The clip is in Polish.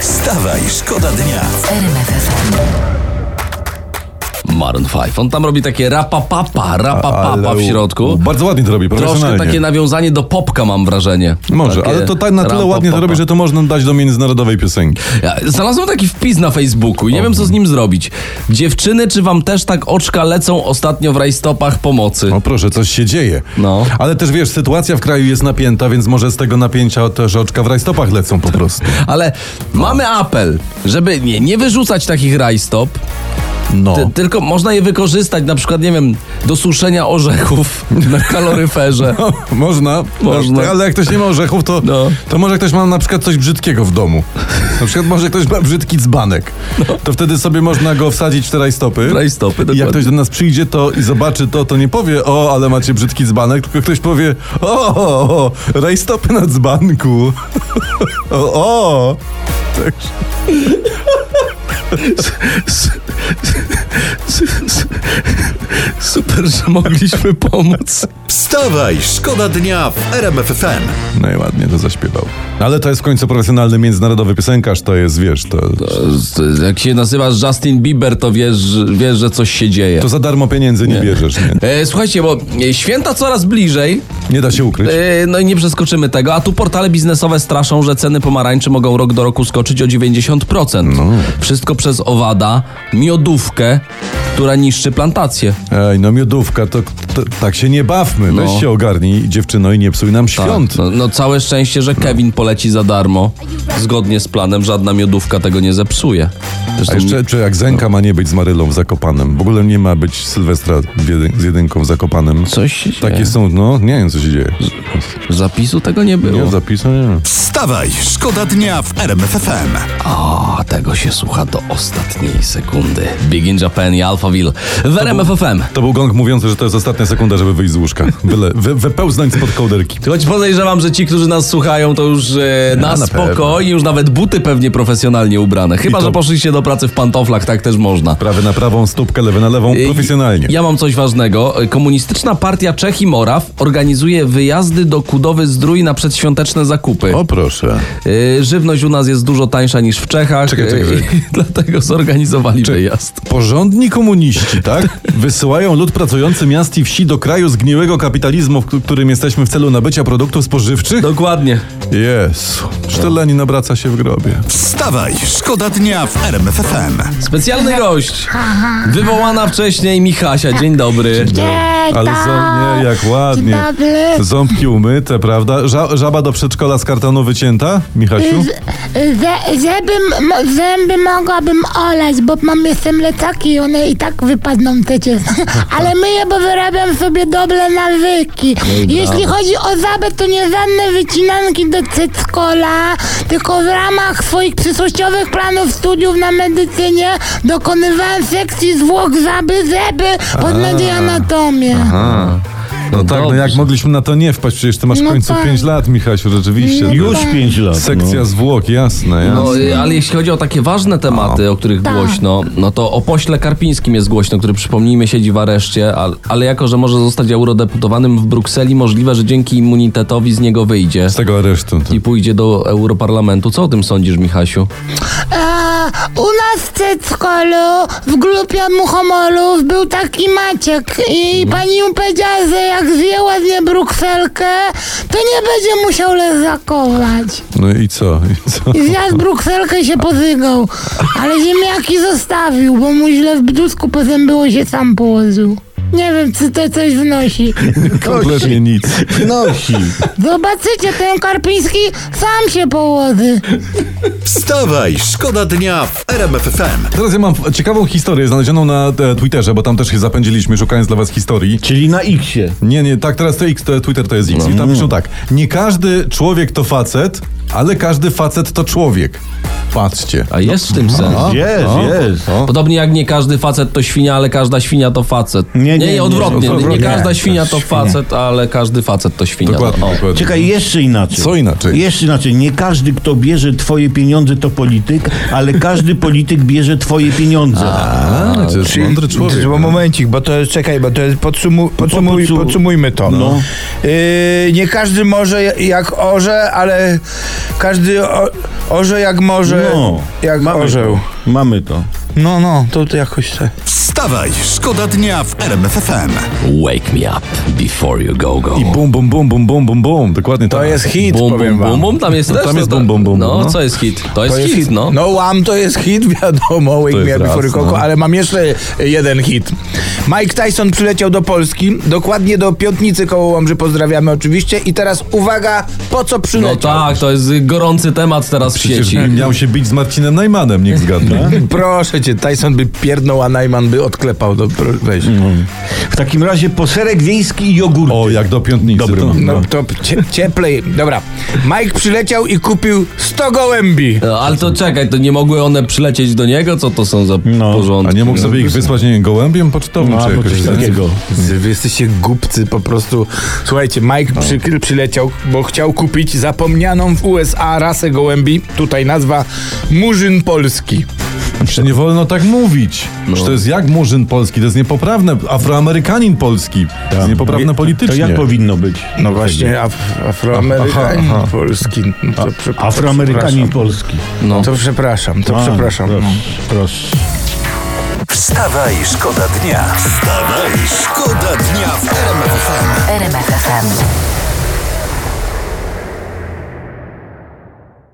Wstawaj, szkoda dnia. Maroon 5. On tam robi takie rapapapa, rapapapa Ale w środku. Bardzo ładnie to robi, Troszkę profesjonalnie. takie nawiązanie do popka mam wrażenie. Może, Takie ale to tak na tyle rampa ładnie to popa. robi, że to można dać do międzynarodowej piosenki. Ja znalazłem taki wpis na Facebooku i nie wiem co z nim zrobić. Dziewczyny, czy wam też tak oczka lecą ostatnio w rajstopach pomocy? O proszę, coś się dzieje. No. Ale też wiesz, sytuacja w kraju jest napięta, więc może z tego napięcia też oczka w rajstopach lecą po prostu. Ale mamy apel, żeby nie, nie wyrzucać takich rajstop, No. ty, tylko można je wykorzystać na przykład, nie wiem, do suszenia orzechów na kaloryferze. Można, Można. ale jak ktoś nie ma orzechów, to, No. to może ktoś ma na przykład coś brzydkiego w domu. Na przykład może ktoś ma brzydki dzbanek. No. To wtedy sobie można go wsadzić w te rajstopy. Rajstopy, I dokładnie. jak ktoś do nas przyjdzie to i zobaczy to, to nie powie o, ale macie brzydki dzbanek, tylko ktoś powie o, o, o rajstopy na dzbanku. O, o. Super, że mogliśmy pomóc. Wstawaj, szkoda dnia w RMF FM. No i ładnie to zaśpiewał. No Ale to jest w końcu profesjonalny międzynarodowy piosenkarz, to jest, wiesz, to... Jak się nazywasz Justin Bieber, to wiesz, wiesz że coś się dzieje. To za darmo pieniędzy nie, bierzesz, nie? E, słuchajcie, bo e, święta coraz bliżej, Nie da się ukryć. e, no i nie przeskoczymy tego, a tu portale biznesowe straszą, że ceny pomarańczy mogą rok do roku skoczyć o 90%. Wszystko przez owada, miodówkę, która niszczy plantację. Ej, no miodówka, to, to tak się nie bawmy. Weź No. się ogarnij, dziewczyno, i nie psuj nam Tak, świąt. No, no całe szczęście, że Kevin poleci za darmo. Zgodnie z planem żadna miodówka tego nie zepsuje. Zresztą A jeszcze, czy jak Zenka no. ma nie być z Marylą w Zakopanem? W ogóle nie ma być Sylwestra w jedy, z jedynką w Zakopanem. coś się dzieje. Takie są, no, nie wiem, co się dzieje. Zapisu tego nie było. Nie, zapisu, nie wiem. Wstawaj, szkoda dnia w RMF FM. A, tego się słucha do ostatniej sekundy. Big in Japan i Alphaville w RMF FM. To był gong mówiący, że to jest ostatnia sekunda, żeby wyjść z łóżka. Byle, wy, wypełznąć spod kołderki. Choć podejrzewam, że ci, którzy nas słuchają, to już e, na, na pewno. spokojnie, już nawet buty pewnie profesjonalnie ubrane. Chyba, to- że poszliście do pracy w pantoflach, tak też można. Prawy na prawą, stópkę lewy na lewą, Ej, profesjonalnie. Ja mam coś ważnego. Komunistyczna Partia Czech i Moraw organizuje wyjazdy do Kudowy Zdrój na przedświąteczne zakupy. O proszę. E, żywność u nas jest dużo tańsza niż w Czechach, Czekaj, czekaj, e, czekaj. i dlatego zorganizowali Czekaj. wyjazd. Porządni komuniści, tak? Wysyłają lud pracujący miast i wsi do kraju zgniłego kapitalizmu, w k- którym jesteśmy w celu nabycia produktów spożywczych? Dokładnie. Jezu, Szczelanin obraca się w grobie. Wstawaj, szkoda dnia w RMF FM. Specjalny gość. Wywołana wcześniej Michasia. Dzień dobry. No, Ale zo- nie, jak ładnie. tak? Dzień dobry. Ząbki umyte, prawda? Ża- żaba do przedszkola z kartonu wycięta, Michasiu? Y, Ze, żebym, mo- zęby mogłabym olać, bo mam jeszcze mleczaki i one i tak wypadną przecież. Ale myję, bo wyrabiam sobie dobre nawyki. Jeśli chodzi o zabę, to nie żadne wycinanki do cyckola, tylko w ramach swoich przyszłościowych planów studiów na medycynie dokonywałem sekcji zwłok zaby, zeby, podnęli anatomię. No tak, no dobrze. jak mogliśmy na to nie wpaść? Przecież ty masz w No końcu tak. No 5 lat, Michasiu, rzeczywiście. To- Już 5 lat. Sekcja zwłok, jasne, jasne. No, y, ale jeśli chodzi o takie ważne tematy, o których Tak. głośno, no to o pośle Karpińskim jest głośno, który przypomnijmy siedzi w areszcie, ale, ale jako, że może zostać eurodeputowanym w Brukseli, możliwe, że dzięki immunitetowi z niego wyjdzie Z tego aresztu. To. i pójdzie do Europarlamentu. Co o tym sądzisz, Michasiu? A, u nas w przedszkolu, w grupie muchomolów był taki Maciek i pani mu powiedziała, że jak zje ładnie brukselkę, to nie będzie musiał lezakować. No i co? I co? I zjadł brukselkę i się pozygał, ale ziemniaki zostawił, bo mu źle w brzuszku pozębyło się sam położył. Nie wiem, czy to coś wnosi. Kompletnie nic. no. Zobaczycie, ten Karpiński sam się położy. Wstawaj, szkoda dnia w RMF FM. Teraz ja mam ciekawą historię znalezioną na e, Twitterze, bo tam też się zapędziliśmy szukając dla was historii. Czyli na X-ie. Nie, nie, tak, teraz to X, to Twitter to jest X. I tam piszą tak. Nie każdy człowiek to facet, ale każdy facet to człowiek. Patrzcie. A jest w tym sens. Jest, jest. o. Podobnie jak nie każdy facet to świnia, ale każda świnia to facet. Nie, nie, nie, odwrotnie. Nie, odwrotnie. każda Nie, świnia to to facet, ale każdy facet to świnia. Dokładnie, O. dokładnie. Czekaj, jeszcze inaczej. Co inaczej? Jeszcze inaczej. Nie każdy, kto bierze twoje pieniądze, to polityk, ale każdy polityk bierze twoje pieniądze. A, to jest mądry człowiek. no. Bo momencik, bo to jest, czekaj, bo to jest, podsumu, no. podsumuj, podsu- podsumujmy to. No. Yy, nie każdy może jak orze, ale Każdy o, orze jak może, No, jak mamy orzeł. To. Mamy to. No, no, to, to jakoś tak. Wstawaj, szkoda dnia w RMFFM. Wake me up before you go go. I bum, bum, bum, bum, bum, bum, bum. Dokładnie tak. To jest hit, Bum, powiem bum, wam. bum, bum, tam jest... Też tam to jest bum, bum, bum, No, no. co jest hit? To jest, hit, no. No, Łam to jest hit, wiadomo, Wake jest Me Up Before raz, You Coco, no. ale mam jeszcze jeden hit. Mike Tyson przyleciał do Polski, dokładnie do Piątnicy koło Łomży, pozdrawiamy oczywiście. I teraz uwaga, po co No przyleciał? tak, to jest y, gorący temat teraz w Przecież sieci. miał się bić z Marcinem Najmanem, niech zgadnę. Tak? Proszę cię, Tyson by pierdnął, a Najman by odklepał. Do, pro- weź. No. W takim razie poserek wiejski i jogurt. O, jak do piątnicy. Dobry to- mam. No to cie, cieplej. Dobra. Mike przyleciał i kupił 100 gołębi. No, ale to czekaj, to nie mogły one przylecieć do niego? Co to są za No, A porządki? nie mógł sobie ich wysłać, nie wiem, gołębiem pocztowym No, czy albo jakoś coś tak? takiego. Wy jesteście głupcy po prostu. Słuchajcie, Tak. Mike przy, przyleciał, bo chciał kupić zapomnianą w USA rasę gołębi. Tutaj nazwa Murzyn Polski. Czy nie wolno tak mówić? No. Czy to jest jak Murzyn Polski? To jest niepoprawne. Afroamerykanin Polski. To jest niepoprawne Tak. To politycznie. jak powinno być? No właśnie, af, Afroamerykanin Aha, aha. Polski. No to prze- to Afroamerykanin przepraszam. polski. No. To przepraszam, to A, przepraszam. Proszę. No. proszę. Wstawaj, szkoda dnia. Wstawaj, szkoda dnia w RMFFM. RMFFM.